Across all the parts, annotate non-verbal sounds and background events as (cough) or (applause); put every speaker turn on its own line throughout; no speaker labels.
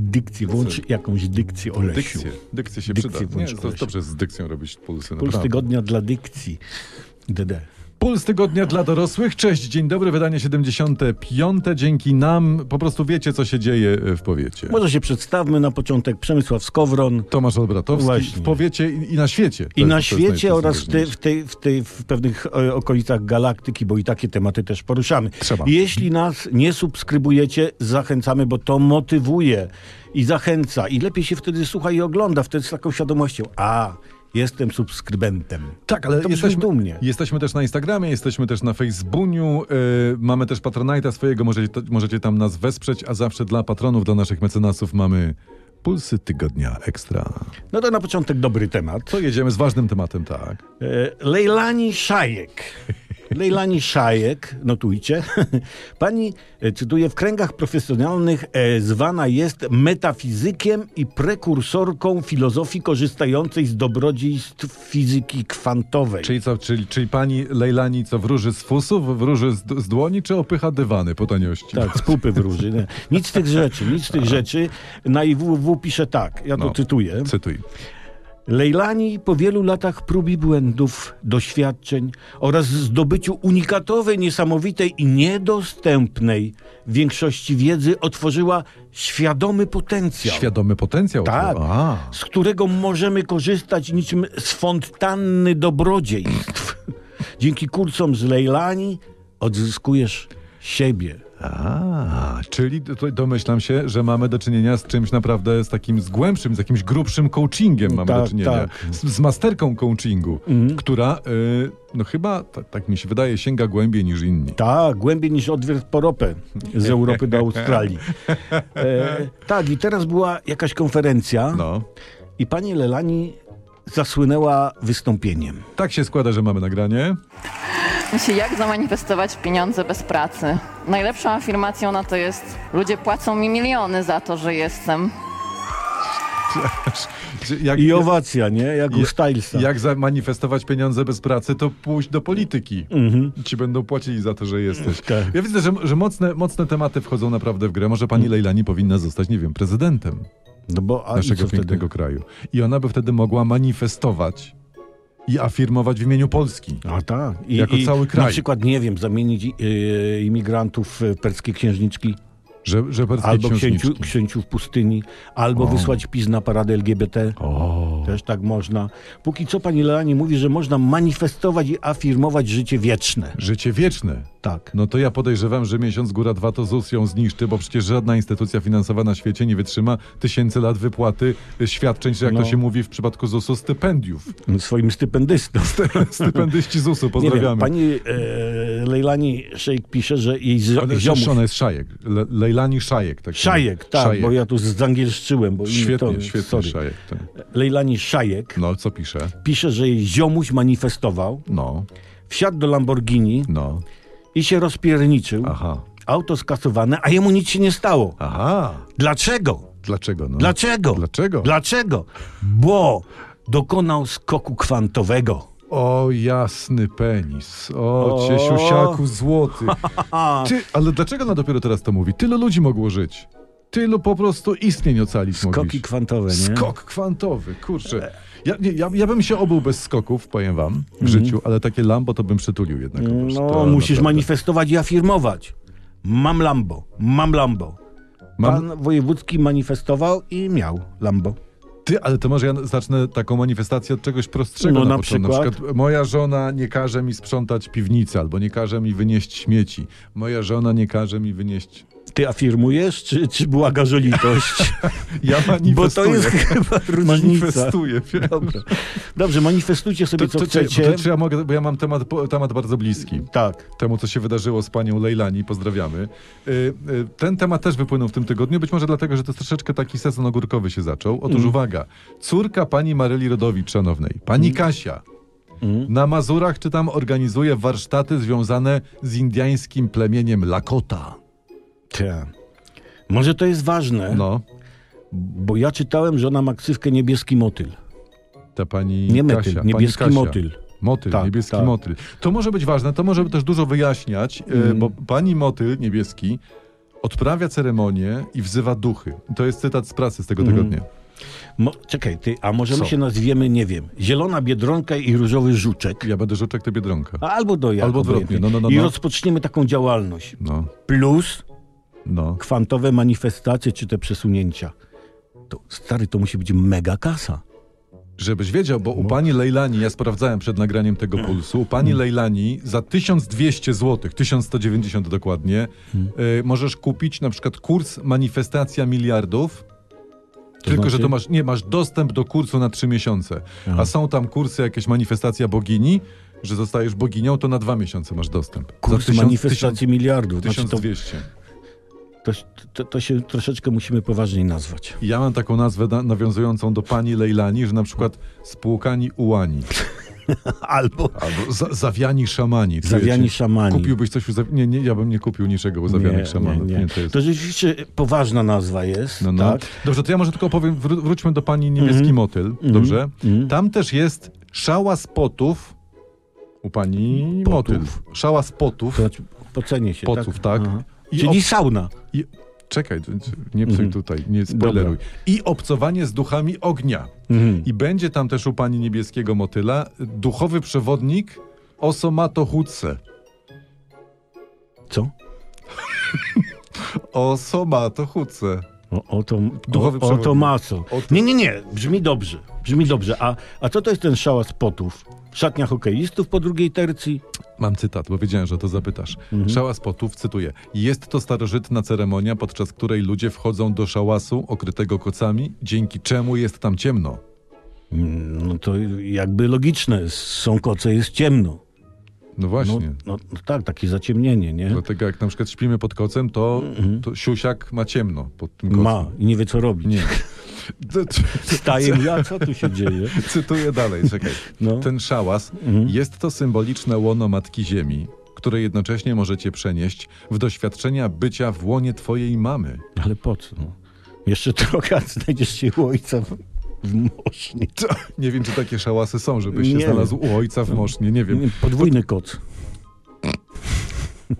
dykcję, włącz jakąś dykcję o Lesiu.
Dykcję. Dykcję się
Dykcję
przyda. Nie,
włącz,
to
Oleś.
jest dobrze z dykcją robić pulsy.
Puls
naprawdę.
tygodnia dla dykcji. DD.
Puls tygodnia dla dorosłych. Cześć, dzień dobry, wydanie 75. Dzięki nam po prostu wiecie, co się dzieje e, w powiecie.
Może się przedstawmy na początek Przemysław Skowron
Tomasz Olbratowski
Właśnie.
w powiecie i i na świecie. To
i
jest-
na
Tak, to jest
świecie
naj-
oraz w, tej- w, tej- w, tej- w pewnych e, okolicach galaktyki, bo i takie tematy też poruszamy.
Trzeba.
Jeśli nas nie subskrybujecie, zachęcamy, bo to motywuje i zachęca i lepiej się wtedy słucha i ogląda, wtedy z taką świadomością, a jestem subskrybentem.
Tak, ale
To brzmi
jesteśmy,
dumnie.
jesteśmy też na Instagramie, jesteśmy też na Facebooku, y, mamy też Patronite'a swojego, możecie, to, możecie tam nas wesprzeć, a zawsze dla patronów, dla naszych mecenasów mamy Pulsy Tygodnia Ekstra.
No to na początek dobry temat.
To jedziemy z ważnym tematem, tak.
E, Lejlani
(laughs)
Szajek. Lejlani Szajek, notujcie. (laughs) Pani, e, cytuję, w kręgach profesjonalnych e, zwana jest metafizykiem i prekursorką filozofii korzystającej z dobrodziejstw fizyki kwantowej.
Czyli co, czyli, czyli pani Lejlani co, wróży z fusów, wróży z, d- z dłoni, czy opycha dywany po taniości?
Tak, z pupy wróży. nie. Nic z tych rzeczy, nic z tych rzeczy. Na IWW pisze tak, ja to
No.
cytuję.
Cytuj.
Lejlani po wielu latach prób i błędów, doświadczeń oraz zdobyciu unikatowej, niesamowitej i niedostępnej większości wiedzy otworzyła świadomy potencjał,
Świadomy potencjał.
Tak.
A,
z którego możemy korzystać niczym z fontanny dobrodziejstw. Dzięki kursom z Lejlani odzyskujesz siebie.
a, czyli tutaj domyślam się, że mamy do czynienia z czymś naprawdę z takim z głębszym, z jakimś grubszym coachingiem mamy
Tak,
do czynienia.
tak. Mhm.
Z, z masterką coachingu, która, y, no chyba, ta, tak mi się wydaje, sięga głębiej niż inni.
Tak, głębiej niż odwierт po ropę z Europy do Australii. E, tak, i teraz była jakaś konferencja.
No.
I pani Lelani zasłynęła wystąpieniem.
Tak się składa, że mamy nagranie.
Myślę, jak zamanifestować pieniądze bez pracy. Najlepszą afirmacją na to jest, ludzie płacą mi miliony za to, że jestem.
Jak,
I owacja, nie? Jak u
Ja-
Stylesa.
Jak zamanifestować pieniądze bez pracy, to pójść do polityki. Ci będą płacili za to, że jesteś.
Mhm. Tak. Mm.
Ja widzę, że, że mocne, mocne tematy wchodzą naprawdę w grę. Może pani Lejlani powinna zostać, nie wiem, prezydentem
No bo a i
naszego
co wtedy?
pięknego kraju. I ona by wtedy mogła manifestować i afirmować w imieniu Polski.
A tak. I,
Jako
i
cały kraj.
Na przykład, nie wiem, zamienić yy, imigrantów w perskie księżniczki
Że, że perskie
albo księciu,
księżniczki.
księciów pustyni, albo
O.
wysłać PiS na paradę LGBT.
O,
Też tak można. Póki co pani Lelani mówi, że można manifestować i afirmować życie wieczne.
życie wieczne.
Tak.
No to ja podejrzewam, że miesiąc góra dwa to ZUS ją zniszczy, bo przecież żadna instytucja finansowa na świecie nie wytrzyma tysięcy lat wypłaty y, świadczeń, czy jak
No.
to się mówi w przypadku ZUS-u, stypendiów. (laughs)
Swoim (laughs) stypendystom.
Stypendyści ZUS-u,
Nie
pozdrawiamy.
wiem, pani e, Lejlani Szejk pisze, że jej z,
Ale
ziomuś
Ona jest Szajek. Le Lejlani Szajek. Tak się
Szajek,
mówi.
tak, bo ja tu zangielszczyłem. Bo
Świetnie,
to,
świetnie
sorry.
Szajek. Tak.
Lejlani Szajek
No, co pisze?
pisze, że jej ziomuś manifestował,
No,
wsiadł do Lamborghini
no,
i się rozpierniczył,
aha,
auto skasowane, a jemu nic się nie stało.
aha.
Dlaczego?
Dlaczego? No?
Dlaczego?
Dlaczego?
Dlaczego? Bo dokonał skoku kwantowego.
O, jasny penis. O,
O.
ciesiusiaku
(laughs)
złoty. Ty, ale dlaczego ona dopiero teraz to mówi? Tylu ludzi mogło żyć. Tylu po prostu istnień ocalić
Skoki
mówisz.
kwantowe, nie?
Skok kwantowy, kurczę. Ja, nie, ja, ja bym się obył bez skoków, powiem wam, w życiu, ale takie Lambo to bym przytulił jednak. po prostu.
Mhm. No,
To
musisz
naprawdę.
manifestować i afirmować. Mam Lambo, mam Lambo.
Mam,
Pan wojewódzki manifestował i miał Lambo.
ty, ale to może ja zacznę taką manifestację od czegoś prostszego
No,
na,
na
początku.
przykład?
Na przykład moja żona nie każe mi sprzątać piwnicy, albo nie każe mi wynieść śmieci. Moja żona nie każe mi wynieść...
Ty afirmujesz, czy, czy była (laughs) gażolitość?
Ja manifestuję.
Bo to (laughs) jest tak. chyba różnica.
Manifestuję, wiesz.
Dobrze. Dobrze, manifestujcie sobie, co
to, czy-
chcecie.
To, czy ja mogę, bo ja mam temat, po- temat bardzo bliski.
Tak.
Temu, co się wydarzyło z panią Lejlani, pozdrawiamy. Y, y, ten temat też wypłynął w tym tygodniu, być może dlatego, że to troszeczkę taki sezon ogórkowy się zaczął. Otóż
Mm.
uwaga, córka pani Maryli Rodowicz, szanownej, pani
Mm.
Kasia, na Mazurach czy tam organizuje warsztaty związane z indyjskim plemieniem Lakota.
Te. Może to jest ważne,
No,
bo ja czytałem, że ona ma ksywkę niebieski motyl.
ta pani
Nie metyl,
Kasia. pani
niebieski
Kasia.
motyl.
Motyl,
Tak,
niebieski
tak. Mhm.
motyl. To może być ważne, to może też dużo wyjaśniać, e, bo pani motyl niebieski odprawia ceremonię i wzywa duchy. To jest cytat z pracy z tego
Mhm.
tygodnia.
Mo- czekaj, ty, a może
Co?
my się nazwiemy, nie wiem, Zielona Biedronka i Różowy Żuczek?
Ja będę żuczek, ty biedronka.
Albo do jak,
Albo odwrotnie,
obojętnie.
no, no, no,
I
no.
rozpoczniemy taką działalność.
No,
Plus
no.
kwantowe manifestacje czy te przesunięcia. To, stary, to musi być mega kasa.
Żebyś wiedział, bo
No.
u pani Lejlani, ja sprawdzałem przed nagraniem tego
Hmm.
pulsu, u pani Lejlani za 1200 zł, 1190 dokładnie,
Hmm.
y, możesz kupić na przykład kurs Manifestacja Miliardów, tylko że
znaczy?
to masz, nie, masz dostęp do kursu na 3 miesiące, a są tam kursy jakieś Manifestacja Bogini, że zostajesz boginią, to na 2 miesiące masz dostęp. Za
Kurs
1000
manifestacji miliardów. Znaczy, to,
1200.
to, to, to się troszeczkę musimy poważniej nazwać.
Ja mam taką nazwę na, nawiązującą do pani Lejlani, że na przykład spłukani ułani.
Albo
Albo za, zawiani szamani. czujecie?
zawiani szamani.
Kupiłbyś coś u zaw... nie, nie, ja bym nie kupił niczego u zawianych szamanów. Nie, to jest...
To rzeczywiście poważna nazwa jest.
no, no.
Tak?
Dobrze, to ja może tylko opowiem, wró- wróćmy do pani niebieski motyl, dobrze?
mhm.
Tam też jest szała z potów u pani
Potów.
motyl. Szała z potów,
To znaczy, pocenię się.
potów, tak?
Aha.
I
Czyli sauna.
I... Czekaj, t- t- nie psuj tutaj, nie spoileruj.
Dobra. Mhm.
I obcowanie z duchami ognia. I będzie tam też u pani niebieskiego motyla duchowy przewodnik Osomato Hutse.
Co?
Osomato Hutse.
O, o to,
Duchowy
o, o to
przewodnik.
maso.
O to-
Nie, nie, nie. Brzmi dobrze. Brzmi dobrze. A, a co to jest ten szałas potów? Szatnia hokeistów po drugiej tercji?
Mam cytat, bo wiedziałem, że o to zapytasz.
Mhm.
Szałas potów, cytuję. Jest to starożytna ceremonia, podczas której ludzie wchodzą do szałasu okrytego kocami, dzięki czemu jest tam ciemno.
Mm, No to jakby logiczne. Są koce, jest ciemno.
No
No,
właśnie.
no, no tak, takie zaciemnienie, nie?
Dlatego jak na przykład śpimy pod kocem, to, to siusiak ma ciemno pod tym kocem.
Mhm. Ma i nie wie co robić.
Nie. (laughs) D- c-
Staje mi, a co tu
(laughs)
się dzieje?
Cytuję dalej, czekaj.
No. Mhm.
Ten szałas jest to symboliczne łono Matki Ziemi, które jednocześnie możecie przenieść w doświadczenia bycia w łonie twojej mamy.
Ale po co? No. Jeszcze trochę, a (laughs) znajdziesz się u ojca w, w mosznie.
To, nie wiem, czy takie szałasy są, żebyś się
Nie No.
znalazł u ojca w Mosznie. Nie wiem.
Podwójny koc. No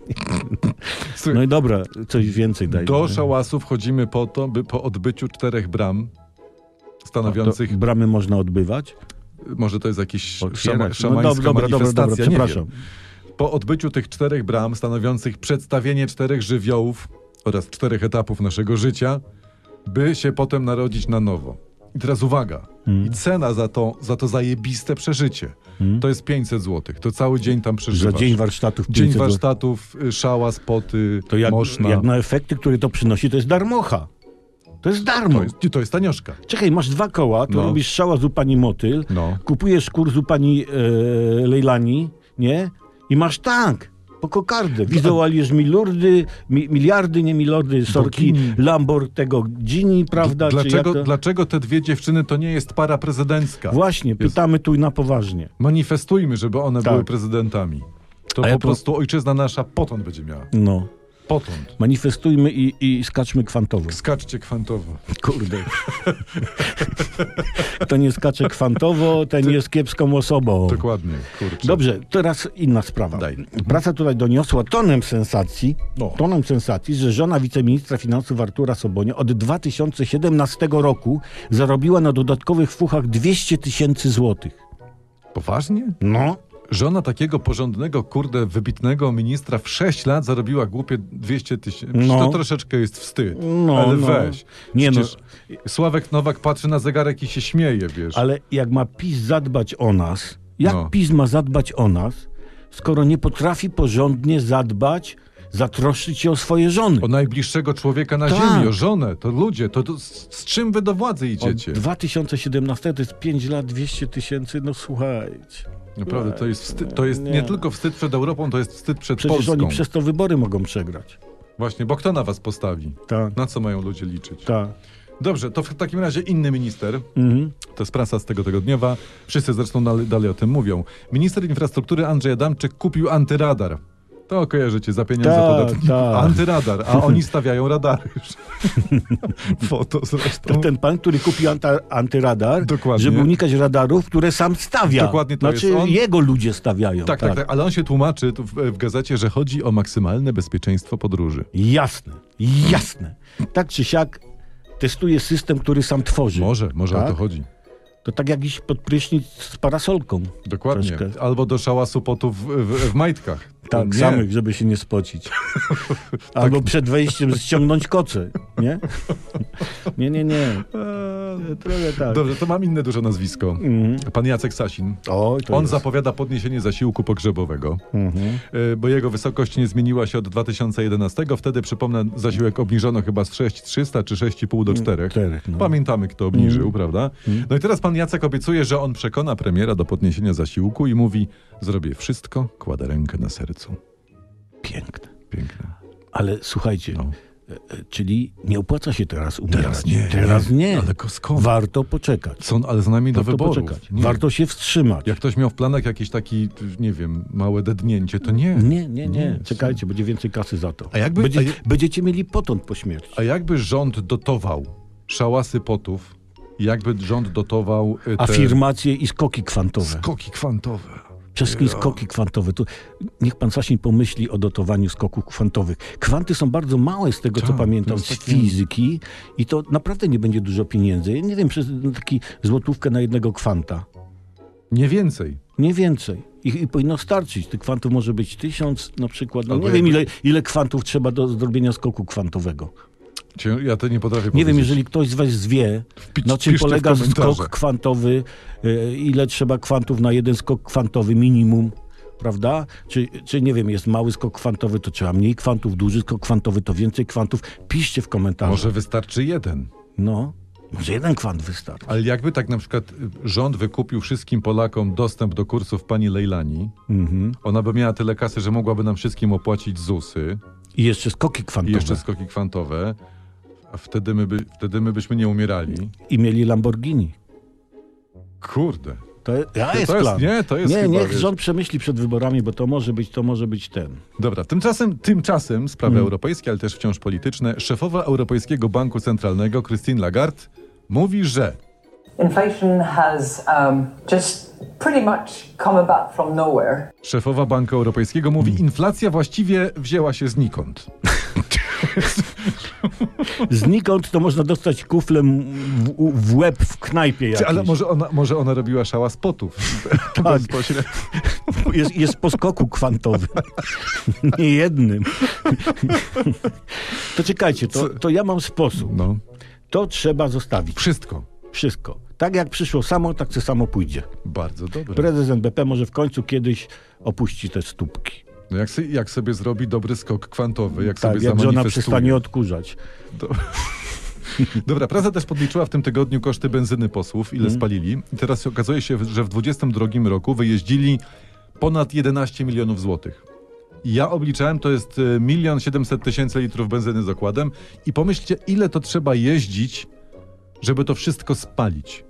Słuchaj,
i dobra, coś więcej daj.
do szałasu wchodzimy po to, by po odbyciu czterech bram stanowiących,
To Bramy można odbywać?
może to jest jakiś szama,
Otwierać.
szamańska
no dobra, dobra, dobra, dobra,
manifestacja, nie
przepraszam.
wiem. Po odbyciu tych czterech bram stanowiących przedstawienie czterech żywiołów oraz czterech etapów naszego życia, by się potem narodzić na nowo. I teraz uwaga.
Hmm.
I cena za to, za to zajebiste przeżycie to jest 500 zł. To cały dzień tam
Za
przeżywasz.
dzień warsztatów.
Dzień
500 zł.
warsztatów, y, szała, spoty,
To jak,
moszna.
jak na efekty, które to przynosi, to jest darmocha. To jest darmo.
to, jest, to jest tanioszka.
Czekaj, masz dwa koła, to
No.
robisz szałas u pani Motyl,
No.
kupujesz kurs u pani e, Lejlani, nie? I masz tank. Po kokardę. Wizualizujesz milurdy, mi, miliardy, nie milordy, sorki,
Bogini.
Lambor tego Gini, prawda? Czy
Dlaczego,
jak to...
dlaczego te dwie dziewczyny to nie jest para prezydencka?
Właśnie, pytamy tu na poważnie.
Manifestujmy, żeby one
Tak.
były prezydentami.
A
To po
ja po-
prostu ojczyzna nasza potąd będzie miała.
No.
Potąd.
Manifestujmy i, i skaczmy
(laughs)
kwantowo.
Skaczcie kwantowo.
Kurde. ten jest skacze kwantowo, ten jest kiepską osobą.
Dokładnie, kurczę.
Dobrze, teraz inna sprawa. Mhm.
Daj.
Praca tutaj doniosła tonem sensacji,
No.
tonem sensacji, że żona wiceministra finansów Artura Sobonia od 2017 roku zarobiła na dodatkowych fuchach 200 tysięcy złotych.
Poważnie?
No.
Żona takiego porządnego, kurde, wybitnego ministra w 6 lat zarobiła głupie 200 tysięcy.
No.
To troszeczkę jest wstyd.
No,
ale
no.
weź.
Nie no.
Przecież Sławek Nowak patrzy na zegarek i się śmieje, wiesz.
Ale jak ma PiS zadbać o nas, jak
No.
PiS ma zadbać o nas, skoro nie potrafi porządnie zadbać, zatroszczyć się o swoje żony?
O najbliższego człowieka na
Tak.
ziemi, o żonę, to ludzie, to, to z, z czym wy do władzy idziecie?
Od 2017 to jest 5 lat, 200 tysięcy, no słuchajcie.
Naprawdę, to jest wstyd, to jest nie.
Nie.
tylko wstyd przed Europą, to jest wstyd przed
Przecież
Polską.
oni przez to wybory mogą przegrać.
Właśnie, bo kto na was postawi?
Tak,
Na co mają ludzie liczyć?
tak.
Dobrze, to w takim razie inny minister,
Mhm.
to jest prasa z tego tygodniowa, wszyscy zresztą dalej, dalej o tym mówią. Minister infrastruktury Andrzej Adamczyk kupił antyradar. To kojarzycie, za pieniądze
Tak,
podatki.
tak.
Antyradar, a oni
(laughs)
stawiają radary. Foto
To
zresztą.
ten pan, który kupił anta, antyradar,
No. Dokładnie.
żeby unikać radarów, które sam stawia.
Dokładnie to
znaczy,
jest on.
jego ludzie stawiają.
Tak, tak, tak, ale on się tłumaczy tu w, w gazecie, że chodzi o maksymalne bezpieczeństwo podróży.
Jasne, jasne. Tak czy siak testuje system, który sam tworzy.
Może, może
tak?
o to chodzi.
To tak jakiś podprysznic z parasolką.
Dokładnie.
Troszkę.
Albo do szałasu potów w, w, w majtkach.
Tak,
Nie. Tak.
samych, żeby się nie
(laughs)
spocić. Albo przed wejściem ściągnąć koce,
(laughs)
nie? nie, nie, nie.
Eee,
Trochę tak.
Dobrze, to mam inne duże nazwisko.
Mhm.
Pan Jacek Sasin.
O, to
On
jest.
zapowiada podniesienie zasiłku pogrzebowego,
Mhm.
e, bo jego wysokość nie zmieniła się od 2011. Wtedy, przypomnę, zasiłek obniżono chyba z 6300 czy 6,5 do 4.
czterech, no. Mm.
Pamiętamy, kto obniżył, prawda? No i teraz pan Jacek obiecuje, że on przekona premiera do podniesienia zasiłku i mówi: Zrobię wszystko, kładę rękę na sercu.
Piękne.
Piękne.
Ale słuchajcie,
No.
e, e, czyli nie opłaca się teraz umierać.
Teraz nie,
Teraz
nie.
nie.
Ale ko- skąd?
Warto poczekać.
Co, ale z nami do
Warto
wyborów.
poczekać.
Nie.
Warto się wstrzymać.
Jak ktoś miał w planach jakiś taki, nie wiem, małe dednięcie, to nie.
Nie, nie, nie.
Nie,
Czekajcie, będzie więcej kasy za to.
A jakby-
Będzie,
a jak-
Będziecie mieli potąd po śmierci.
A jakby rząd dotował szałasy potów, jakby rząd dotował y, te
Afirmacje i skoki kwantowe.
skoki kwantowe.
Czeski skoki kwantowe. Tu niech pan Sasin pomyśli o dotowaniu skoków kwantowych. Kwanty są bardzo małe z tego, co
Tak,
pamiętam,
to
z
jest takie-
fizyki i to naprawdę nie będzie dużo pieniędzy. Ja nie wiem, przez no, taki złotówkę na jednego kwanta.
Nie więcej.
Nie więcej. I, I powinno starczyć. Tych kwantów może być tysiąc na przykład. No,
Albo
nie wiem,
jedno.
ile, ile kwantów trzeba do zrobienia skoku kwantowego.
Cię, ja to nie potrafię
Nie wiem,
powiedzieć.
jeżeli ktoś z was wie,
Wpisz-
na czym
piszcie w
polega
komentarzach.
skok kwantowy, y, ile trzeba kwantów na jeden skok kwantowy minimum, prawda? Czy, czy nie wiem, jest mały skok kwantowy, to trzeba mniej kwantów, duży skok kwantowy, to więcej kwantów. Piszcie w komentarzu.
Może wystarczy jeden.
No, może jeden kwant wystarczy.
Ale jakby tak na przykład y, rząd wykupił wszystkim Polakom dostęp do kursów pani Lejlani,
Mhm.
ona by miała tyle kasy, że mogłaby nam wszystkim opłacić ZUSy
I jeszcze skoki
i
kwantowe.
jeszcze skoki kwantowe, a wtedy my, by, wtedy my byśmy nie umierali.
I mieli Lamborghini.
Kurde.
To, je- ja
To
jest
jest-
plan.
nie, to jest
nie
chyba,
niech
wiesz.
rząd przemyśli przed wyborami, bo to może być, to może być ten.
Dobra, tymczasem, tymczasem sprawy
Mm.
europejskie, ale też wciąż polityczne, szefowa Europejskiego Banku Centralnego Christine Lagarde mówi, że
Inflation has um, just pretty much come about from nowhere.
szefowa Banku Europejskiego mówi,
Mm.
inflacja właściwie wzięła się znikąd.
Znikąd to można dostać kuflem w, w łeb w knajpie jakiejś.
Ale może ona, może ona robiła szała spotów.
(laughs) Tak.
Bezpośrednio.
Jest, jest po skoku kwantowym. (laughs) Nie jednym. (laughs) To czekajcie, to, to ja mam sposób.
No,
To trzeba zostawić.
wszystko.
Wszystko. Tak jak przyszło samo, tak to samo pójdzie.
Bardzo dobre.
Prezes NBP może w końcu kiedyś opuści te stópki.
No jak, se- jak sobie zrobi dobry skok kwantowy, jak
Tak,
sobie
jak żona
zamanifestuje.
przestanie odkurzać.
Dobra, prasa też podliczyła w tym tygodniu koszty benzyny posłów, ile
Mhm.
spalili. I teraz okazuje się, że w 2022 roku wyjeździli ponad 11 milionów złotych. I Ja obliczałem, to jest y, milion 700 tysięcy litrów benzyny z okładem. I pomyślcie, ile to trzeba jeździć, żeby to wszystko spalić.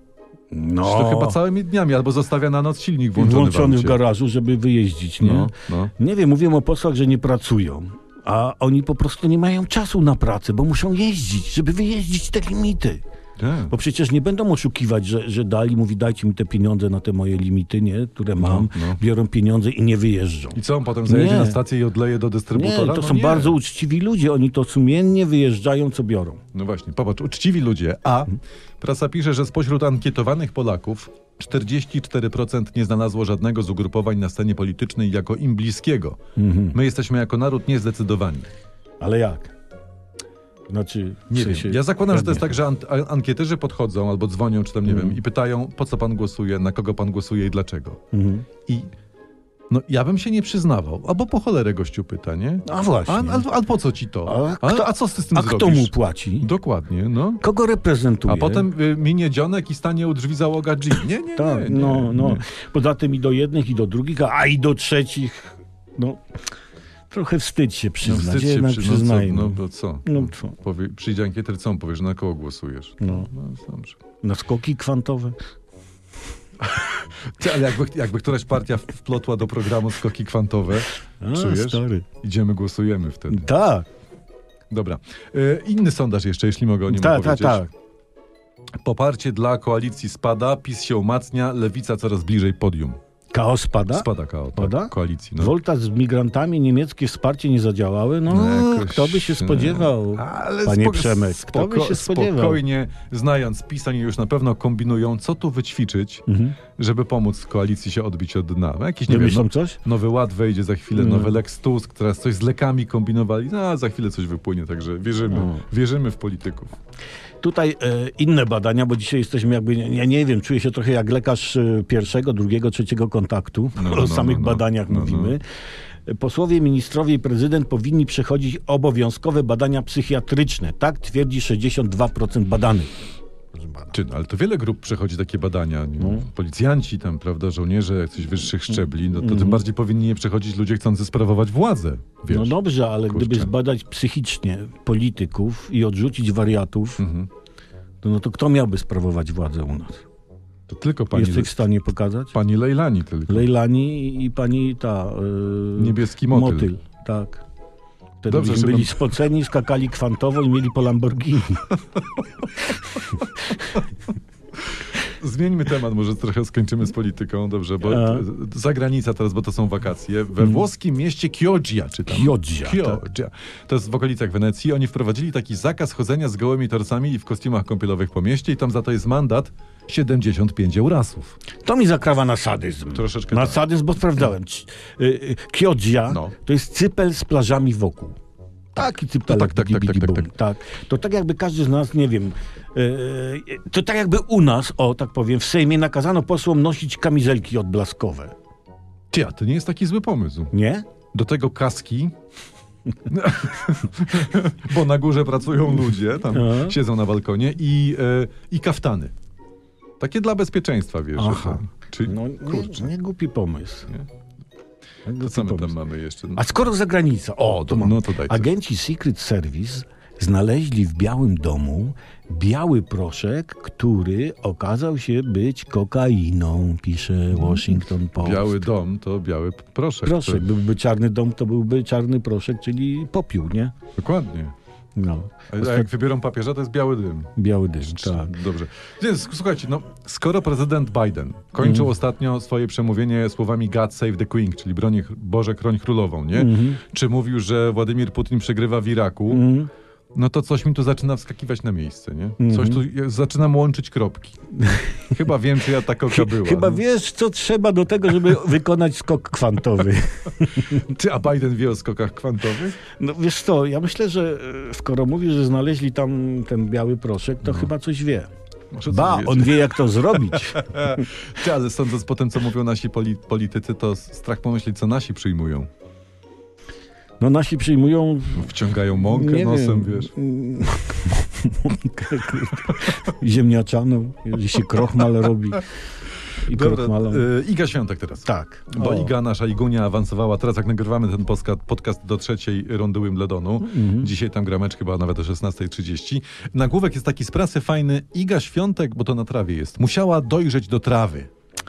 No.
Przecież to chyba całymi dniami, albo zostawia na noc silnik włączony,
włączony w
aucie.
garażu, żeby wyjeździć, nie?
No, no.
Nie wiem, mówiłem o posłach, że nie pracują, a oni po prostu nie mają czasu na pracę, bo muszą jeździć, żeby wyjeździć te limity.
Tak.
Bo przecież nie będą oszukiwać, że, że dali, mówi dajcie mi te pieniądze na te moje limity, nie? Które mam,
no.
biorą pieniądze i nie wyjeżdżą.
I co, on potem zajedzie
Nie.
na stację i odleje do
Nie,
dystrybutora?
to
No
są
nie.
bardzo uczciwi ludzie, oni to sumiennie wyjeżdżają, co biorą.
No właśnie, popatrz, uczciwi ludzie. A
Mhm.
prasa pisze, że spośród ankietowanych Polaków 44% nie znalazło żadnego z ugrupowań na scenie politycznej jako im bliskiego.
Mhm.
My jesteśmy jako naród niezdecydowani.
Ale jak? Znaczy, w
Nie
sensie-
wiem. Ja zakładam, że to
jak
jest
nie?
tak, że an- a- ankieterzy podchodzą albo dzwonią, czy tam nie wiem, i pytają, po co pan głosuje, na kogo pan głosuje i dlaczego.
Mhm.
I no, ja bym się nie przyznawał. Albo po cholerę gościu pyta, nie?
A No, właśnie.
A, a, a po co ci to?
A
A,
kto-
a co z tym
A
zrobisz?
kto mu płaci?
Dokładnie, no.
Kogo reprezentuje?
A potem y, minie dzionek i stanie u drzwi załoga G. Nie, nie, nie.
Tak,
nie,
no, no.
Nie.
Poza tym i do jednych, i do drugich, a, a i do trzecich. No, trochę wstyd się
No,
przyznać,
wstyd się
jednak
przy, no, co,
przyznajmy.
no bo co?
No co?
Powie, przyjdzie no ankieter, co on powiesz, na kogo głosujesz?
No.
no dobrze.
Na skoki kwantowe.
Ty, Ale jakby, jakby któraś partia w- wplotła do programu skoki kwantowe,
A,
czujesz?
stary.
Idziemy, głosujemy wtedy.
Tak,
Dobra. E, inny sondaż jeszcze, jeśli mogę o nim
tak, tak,
opowiedzieć.
tak.
Poparcie dla koalicji spada, PiS się umacnia, lewica coraz bliżej podium.
Chaos pada?
Spada KO,
Pada?
tak, koalicji. No.
Wolta z migrantami, niemieckie wsparcie nie zadziałały? No,
No, jakoś,
kto by się
e,
spodziewał,
Ale
panie
spoko-
Przemek? Kto by
spoko-
się spodziewał?
Spokojnie, znając PiS, oni już na pewno kombinują, co tu wyćwiczyć, żeby pomóc koalicji się odbić od dna. No, Jakiś, nie wiem,
Mhm. Wymyślą
no-
coś?
Nowy Ład wejdzie za chwilę,
Mm.
nowy Lex Tusk, teraz coś z lekami kombinowali, no a za chwilę coś wypłynie, także wierzymy,
No.
wierzymy w polityków.
Tutaj e, inne badania, bo dzisiaj jesteśmy jakby, ja nie wiem, czuję się trochę jak lekarz e, pierwszego, drugiego, trzeciego kontaktu. (laughs)
No,
o
no,
samych
no, no.
badaniach
No, no.
mówimy. Posłowie, ministrowie i prezydent powinni przechodzić obowiązkowe badania psychiatryczne. Tak twierdzi 62% badanych. No
Czy, no, ale to wiele grup przechodzi takie badania, nie?
No.
policjanci tam, prawda, żołnierze, jakichś wyższych szczebli, no to tym bardziej powinni je przechodzić ludzie chcący sprawować władzę, wiesz.
Mhm. No dobrze, ale
kurczę.
gdyby zbadać psychicznie polityków i odrzucić wariatów,
Mhm.
to, no to kto miałby sprawować władzę u nas?
To tylko pani,
Jesteś w stanie pokazać?
pani Lejlani tylko.
Lejlani i- i pani ta... Yy,
Niebieski motyl.
tak. Wtedy
Dobrze,
Dobrze, byli
Szymon.
spoceni, skakali kwantowo i mieli po
(laughs)
Lamborghini.
Zmieńmy temat, może trochę skończymy z polityką, dobrze, bo
A. Mm.
t- zagranica teraz, bo to są wakacje. We włoskim mieście Chioggia, czy tam?
Chioggia, tak.
Chioggia. To jest w okolicach Wenecji. Oni wprowadzili taki zakaz chodzenia z gołymi torcami i w kostiumach kąpielowych po mieście i tam za to jest mandat 75 eurasów.
To mi zakrawa na sadyzm.
Troszeczkę
Na
tak.
sadyzm, bo sprawdzałem. Ci- y, y, Kiodzia
No.
to jest cypel z plażami wokół. Taki cypel.
tak, tak, tak, tak, tak,
To tak jakby każdy z nas, nie wiem, y, y, to tak jakby u nas, o tak powiem, w Sejmie nakazano posłom nosić kamizelki odblaskowe.
Ty, a to nie jest taki zły pomysł.
Nie?
Do tego kaski. (laughs) Bo na górze pracują ludzie, tam
A.
siedzą na balkonie i, e, i kaftany. Takie dla bezpieczeństwa, wiesz. że
Aha.
tam- Czy,
No
kurczę.
nie, nie głupi pomysł.
Nie?
Nie
To
głupi
co my
pomysł.
tam mamy jeszcze?
A skoro zagranica, o, to
No
mam.
to daj coś.
Agenci Secret Service znaleźli w Białym Domu biały proszek, który okazał się być kokainą, pisze Washington Post.
Mm. Biały dom to biały p- proszek.
proszek,
To,
byłby czarny dom, to byłby czarny proszek, czyli popiół, nie?
dokładnie.
No,
A a jak wybiorą papieża, to jest biały dym.
biały dym, tak.
Czy- Dobrze. Więc słuchajcie, no, skoro prezydent Biden
Mhm.
kończył ostatnio swoje przemówienie słowami God save the Queen, czyli bronie, Boże chroń królową, nie?
Mhm.
Czy mówił, że Władimir Putin przegrywa w Iraku, no to coś mi tu zaczyna wskakiwać na miejsce, nie? Coś
Mhm.
tu ja zaczynam
(laughs)
łączyć kropki. Chyba wiem, czy ja takoka była.
Chyba
no.
wiesz, co trzeba do tego, żeby (laughs) wykonać skok kwantowy.
Ty, a Biden wie o skokach kwantowych?
No wiesz co, ja myślę, że e, skoro mówi, że znaleźli tam ten biały proszek,
No.
to chyba coś wie.
Może coś
Ba,
wiecie.
on wie jak to zrobić.
Ty, ale sądząc po tym, co mówią nasi poli- politycy, to strach pomyśleć, co nasi przyjmują.
No
No,
nasi przyjmują
Wciągają mąkę
Nie wiem.
nosem, wiesz.
mąkę kurde, ziemniaczaną, jeżeli się krochmal robi. I
Dobra,
krochmalą.
y, Iga Świątek teraz.
tak.
Bo
O.
Iga, nasza Igunia, awansowała. Teraz jak nagrywamy ten podska- podcast do trzeciej rundy Wimbledonu.
Mhm.
Dzisiaj tam grameczkę chyba nawet o 16.30. Nagłówek jest taki z prasy fajny. Iga Świątek, bo to na trawie jest, musiała dojrzeć do trawy.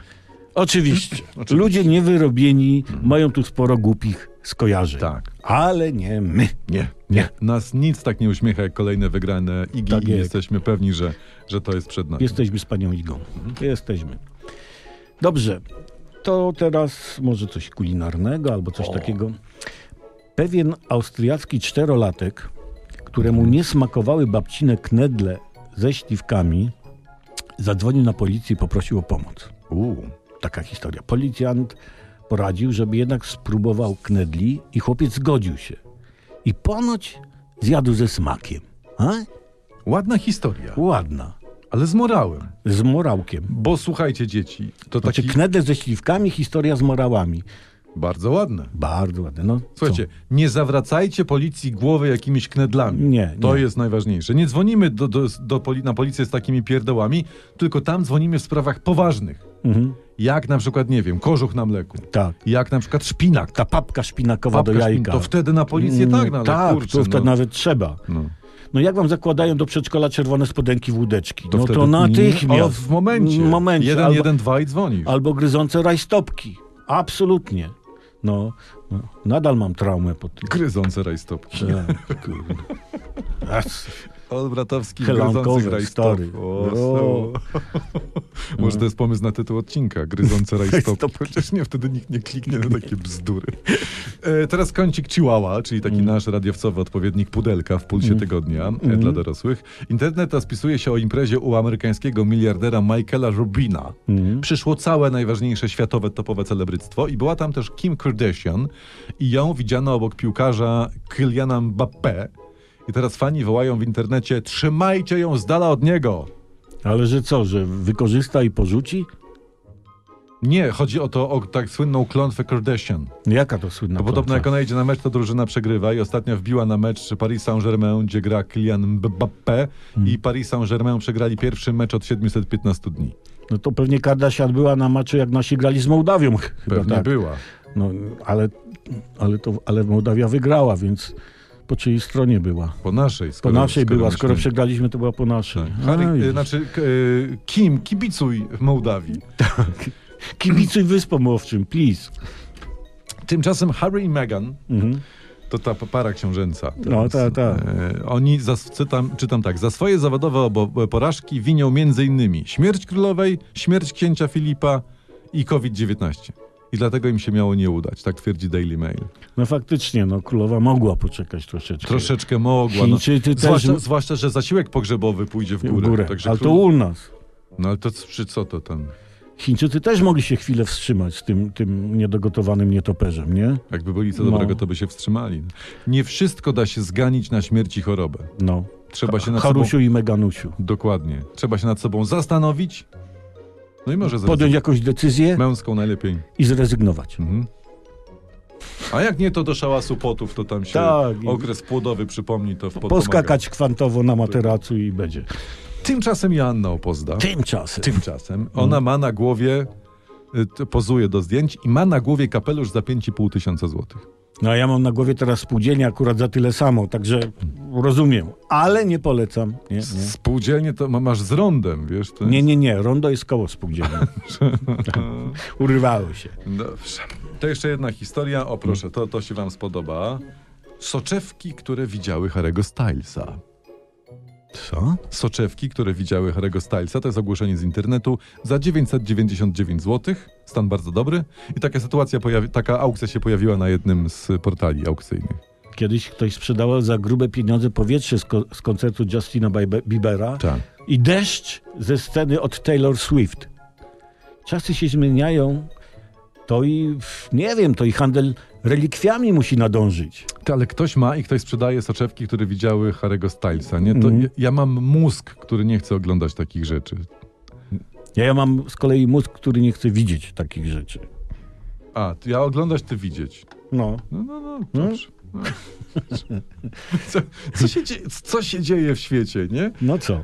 (clears throat)
Oczywiście. Ludzie niewyrobieni mają tu sporo głupich skojarzeń.
Tak.
Ale nie my.
Nie,
nie.
Nas nic tak nie uśmiecha jak kolejne wygrane Igi
Tak
i
jest.
jesteśmy pewni, że, że to jest przed nami.
Jesteśmy z panią Igą. Jesteśmy. Dobrze. To teraz może coś kulinarnego albo coś takiego. Pewien austriacki czterolatek, któremu nie smakowały babcine knedle ze śliwkami, zadzwonił na policję i poprosił o pomoc.
Uuu.
Taka historia. Policjant poradził, żeby jednak spróbował knedli i chłopiec zgodził się. I ponoć zjadł ze smakiem. A?
Ładna historia,
Ładna.
ale z morałem.
Z morałkiem.
Bo słuchajcie, dzieci, to
Znaczy
taki
knedle ze śliwkami, historia z morałami.
bardzo ładne.
Bardzo ładne. No,
Słuchajcie, nie zawracajcie policji głowy jakimiś knedlami.
Nie,
To
nie.
jest najważniejsze. Nie dzwonimy do, do, do poli- na policję z takimi pierdołami, tylko tam dzwonimy w sprawach poważnych.
co? Mhm.
Jak na przykład, nie wiem, kożuch na mleku.
Tak.
Jak na przykład szpinak.
Ta papka szpinakowa
Babka
do
szpin-
jajka.
To wtedy na policję
Mm,
tak, no, ale
tak,
kurczę,
to wtedy
no.
nawet trzeba.
No.
No jak wam zakładają do przedszkola czerwone spodenki w łódeczki?
To
no
wtedy
to
O,
natychmiast.
w momencie.
W momencie.
Jeden,
albo,
jeden, dwa i dzwonisz.
albo gryzące rajstopki. Absolutnie. No, no, nadal mam traumę po
(laughs)
tym.
Gryzące rajstopki.
Tak, kurde. Ach,
Olbratowski
Helankowe,
gryzących rajstopki.
stary. No. O.
O, so. Może to jest pomysł na tytuł odcinka. Gryzące rajstopki.
Rajstopki.
Chociaż nie, wtedy nikt nie kliknie na takie bzdury. E, teraz kącik Chihuahua, czyli taki nasz radiowcowy odpowiednik Pudelka w Pulsie Tygodnia e, dla dorosłych. Internet spisuje się o imprezie u amerykańskiego miliardera Michaela Rubina. Przyszło całe najważniejsze światowe topowe celebryctwo i była tam też Kim Kardashian i ją widziano obok piłkarza Kyliana Mbappé. I teraz fani wołają w internecie, trzymajcie ją z dala od niego.
Ale że co, że wykorzysta i porzuci?
Nie, chodzi o to, o tak słynną klątwę Kardashian.
No Jaka to słynna
To podobno jak
klątwa?
ona idzie na mecz, to drużyna przegrywa i ostatnio wbiła na mecz Paris Saint-Germain, gdzie gra Kylian Mbappé
Hmm.
i Paris Saint-Germain przegrali pierwszy mecz od 715 dni.
No to pewnie Kardasian była na meczu, jak nasi grali z Mołdawią. (laughs) Chyba
Pewnie
tak.
była.
No, ale, ale, to, ale Mołdawia wygrała, więc po czyjej stronie była?
Po naszej.
Po
Skoro,
naszej była, skoro
myślimy.
przegraliśmy, to była po naszej.
Tak.
A,
Harry,
widzisz.
y, znaczy, k- y, Kim, kibicuj w Mołdawii.
Kibicuj wyspom łowczym, please.
Tymczasem Harry i Meghan, to ta p- para książęca.
Mhm. No, ta, ta.
e, oni, za, czytam, czytam tak, za swoje zawodowe obo- e, porażki winią m.in. śmierć królowej, śmierć księcia Filipa i COVID-19. I dlatego im się miało nie udać, tak twierdzi Daily Mail.
No faktycznie, no królowa mogła poczekać troszeczkę.
Troszeczkę mogła. No.
Chińczycy też-
Zwłaszcza, zwłaszcza, że zasiłek pogrzebowy pójdzie w
w
górę.
górę.
Także
Ale to
król-
u nas.
No ale to c- przy co to tam?
Chińczycy też mogli się chwilę wstrzymać z tym, tym niedogotowanym nietoperzem, nie?
Jakby byli co
No.
dobrego, to by się wstrzymali. Nie wszystko da się zganić na śmierć i chorobę.
No.
Trzeba się nad
Harusiu
sobą...
i Meganusiu.
Dokładnie. Trzeba się nad sobą zastanowić. No i może zrobić.
Podjąć jakąś decyzję
Męską najlepiej.
i zrezygnować.
Mhm. A jak nie, to do szałasu potów, to tam się
Tak, i-
okres płodowy przypomni, to w pot
Poskakać kwantowo na materacu i będzie.
pomaga. Tymczasem Joanna Opozda,
Tymczasem.
tymczasem, ona ma na głowie, y, t- pozuje do zdjęć i ma na głowie kapelusz za 5,5 tysiąca złotych.
No a ja mam na głowie teraz spółdzielnię akurat za tyle samo, także rozumiem. Ale nie polecam. Nie, nie.
Spółdzielnie to ma- masz z rondem, wiesz? To
Nie,
jest-
nie, nie. Rondo jest koło spółdzielni. (laughs) Urywało się.
Dobrze. To jeszcze jedna historia, o proszę, to, to się wam spodoba. Soczewki, które widziały Harego Stylesa.
Co?
Soczewki, które widziały Harry'ego Stylesa, to jest ogłoszenie z internetu, za 999 zł, stan bardzo dobry. I taka sytuacja, pojawi- taka aukcja się pojawiła na jednym z portali aukcyjnych.
Kiedyś ktoś sprzedawał za grube pieniądze powietrze z, ko- z koncertu Justina Bibe- Biebera
Tak.
i deszcz ze sceny od Taylor Swift. Czasy się zmieniają, to i pff, nie wiem, to i handel relikwiami musi nadążyć.
Ty, Ale ktoś ma i ktoś sprzedaje soczewki, które widziały Harry'ego Stylesa, nie? To ja, ja mam mózg, który nie chce oglądać takich rzeczy.
Ja, ja mam z kolei mózg, który nie chce widzieć takich rzeczy.
A, ty- ja oglądać, ty widzieć.
No.
No, no, no, dobrze. No. Co, co, się dzieje, co się dzieje w świecie, nie?
No co?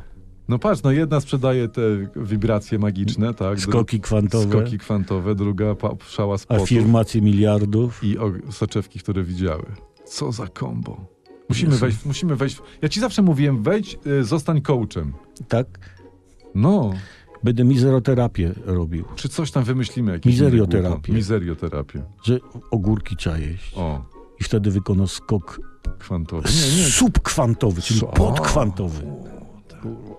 No patrz, no jedna sprzedaje te wibracje magiczne, tak? dru-
Skoki kwantowe,
Skoki kwantowe, druga pa- szała z potów
afirmacje miliardów.
i og- soczewki, które widziały. Co za kombo. Musimy wejść, musimy wejść. w- Ja ci zawsze mówiłem, wejdź, y, zostań coachem.
Tak?
No,
Będę mizeroterapię robił,
czy coś tam wymyślimy? jakieś
Mizerioterapię.
inne głupot. Mizerioterapię.
że ogórki trzeba jeść
O,
i wtedy wykona skok
kwantowy.
subkwantowy, czyli
Co?
podkwantowy. Kurwa,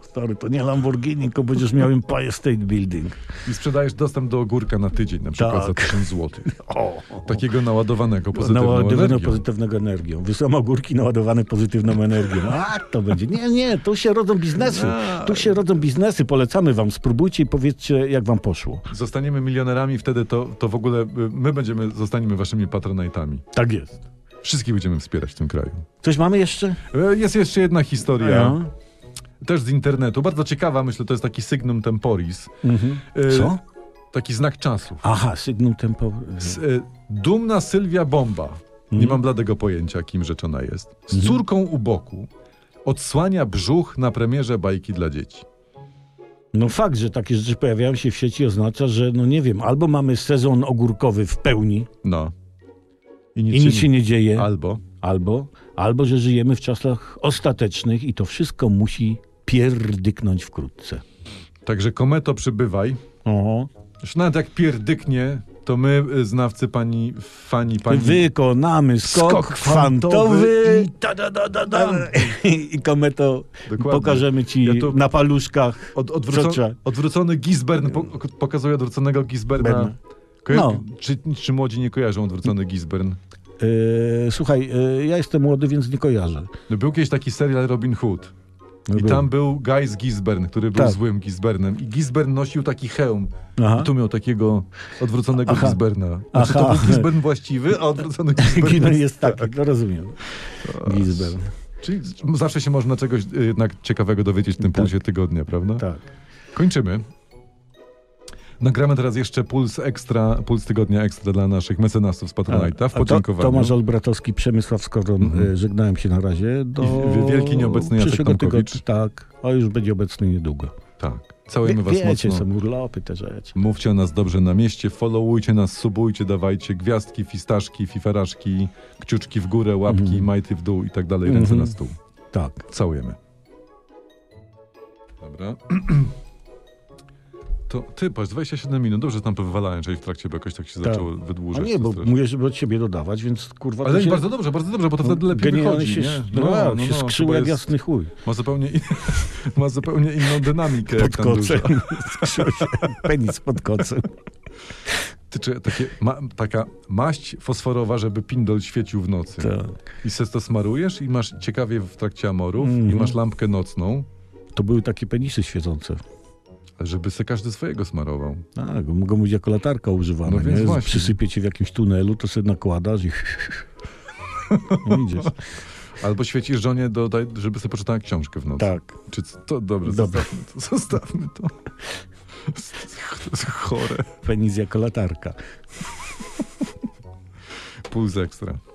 Stary, to nie Lamborghini, tylko będziesz miał Empire State Building.
I sprzedajesz dostęp do ogórka na tydzień, na przykład za
Tak.
1000 zł. Takiego naładowanego pozytywną
No, Naładowane
energią.
pozytywną energią. Wysoma górki naładowane pozytywną energią. A, to będzie. Nie, nie, tu się rodzą biznesy. Tu się rodzą biznesy. Polecamy wam. Spróbujcie i powiedzcie, jak wam poszło.
Zostaniemy milionerami, wtedy to, to w ogóle y, my będziemy, zostaniemy waszymi patronatami.
Tak jest.
Wszystkich będziemy wspierać w tym kraju.
Coś mamy jeszcze?
E, Jest jeszcze jedna historia,
No.
też z internetu, bardzo ciekawa, myślę, to jest taki signum temporis. E,
Mhm. Co?
Taki znak czasów.
Aha, sygnum tempo.
S- e, Dumna Sylwia Bomba, nie
Mhm.
mam bladego pojęcia, kim rzeczona jest, z córką u boku odsłania brzuch na premierze bajki dla dzieci.
No fakt, że takie rzeczy pojawiają się w sieci oznacza, że no nie wiem, albo mamy sezon ogórkowy w pełni
No.
i nic się nie dzieje.
Albo
albo, albo że żyjemy w czasach ostatecznych i to wszystko musi pierdyknąć wkrótce.
Także kometo przybywaj.
Oho.
Już nawet jak pierdyknie, to my, y, znawcy pani, fani, pani...
Wykonamy skok,
Skok
fantowy
fantowy
i, ta, da, da, da, da. (laughs) I kometo
Dokładnie.
pokażemy ci
Ja tu-
na paluszkach.
Od,
Co
odwrócony,
trzeba?
odwrócony Gisbern po, pokazuje odwróconego Gisberna.
Berna.
Koja-
No.
Czy, czy młodzi nie kojarzą odwrócony Gisbern?
E, słuchaj, e, ja jestem młody, więc nie kojarzę.
No, był kiedyś taki serial Robin Hood.
No
I
był.
tam był Guy z Gisbern, który był
Tak.
złym Gisbernem. I Gisbern nosił taki hełm.
Aha. (laughs)
I tu miał takiego odwróconego
Aha.
Gisberna. Znaczy, to
Aha.
był Gisbern właściwy, a
(laughs)
odwrócony Gisbern
Kino
jest...
jest taki, no rozumiem. Gisbert.
Czyli z- zawsze się można czegoś y, jednak ciekawego dowiedzieć w tym
Tak.
pulsie tygodnia, prawda?
Tak.
Kończymy. Nagramy teraz jeszcze Puls Ekstra, Puls Tygodnia Ekstra dla naszych mecenasów z Patronite'a w
A to,
podziękowaniu. Mhm.
Tomasz Olbratowski, Przemysław Skorom, e, żegnałem się na razie. Do
I wielki nieobecny Jacek
przyszłego
Tomkowicz.
tygodnia, Tak, a już będzie obecny niedługo.
Tak.
Wie,
Całujemy was
wiecie,
mocno.
są urlopy, te rzeczy.
Mówcie o nas dobrze na mieście, followujcie nas, subujcie, dawajcie gwiazdki, fistaszki, fiferaszki, kciuczki w górę, łapki, majty w dół i tak dalej, ręce na stół.
Mhm. Tak.
Całujemy. Dobra. To ty, patrz, 27 minut. Dobrze, że tam to wywalałem, czyli w trakcie, bo jakoś tak się
Tak.
zaczęło
A
wydłużać.
nie,
to
bo
strasznie.
mówię, żeby od siebie dodawać, więc kurwa... to
Ale
się...
bardzo dobrze, bardzo dobrze, bo to wtedy lepiej
Genialnie
wychodzi.
się,
nie?
no,
no,
się
no,
skrzył
chyba
jak
jest-
jasny chuj.
Ma zupełnie, in- ma zupełnie inną dynamikę. (laughs) jak
Pod
tam dużo.
kocem. Skrzył się (laughs) penis pod kocem.
Tak. Ty, czy takie, ma, taka maść fosforowa, żeby pindol świecił w nocy.
Tak.
I se to smarujesz i masz ciekawie w trakcie amorów i
Mhm.
masz lampkę nocną,
To były takie penisy świecące.
żeby se każdy swojego smarował.
Tak, mogą być jako latarka używane.
No więc
nie?
właśnie.
Przysypie cię w jakimś tunelu, to sobie nakładasz
(laughs)
i... (laughs) I idziesz.
Albo świecisz żonie, do, daj- żeby sobie poczytała książkę w nocy.
Tak.
Czy c- to dobre,
Dobra.
zostawmy to. Zostawmy to. (laughs) To jest chore.
Penis jako latarka.
Puls ekstra.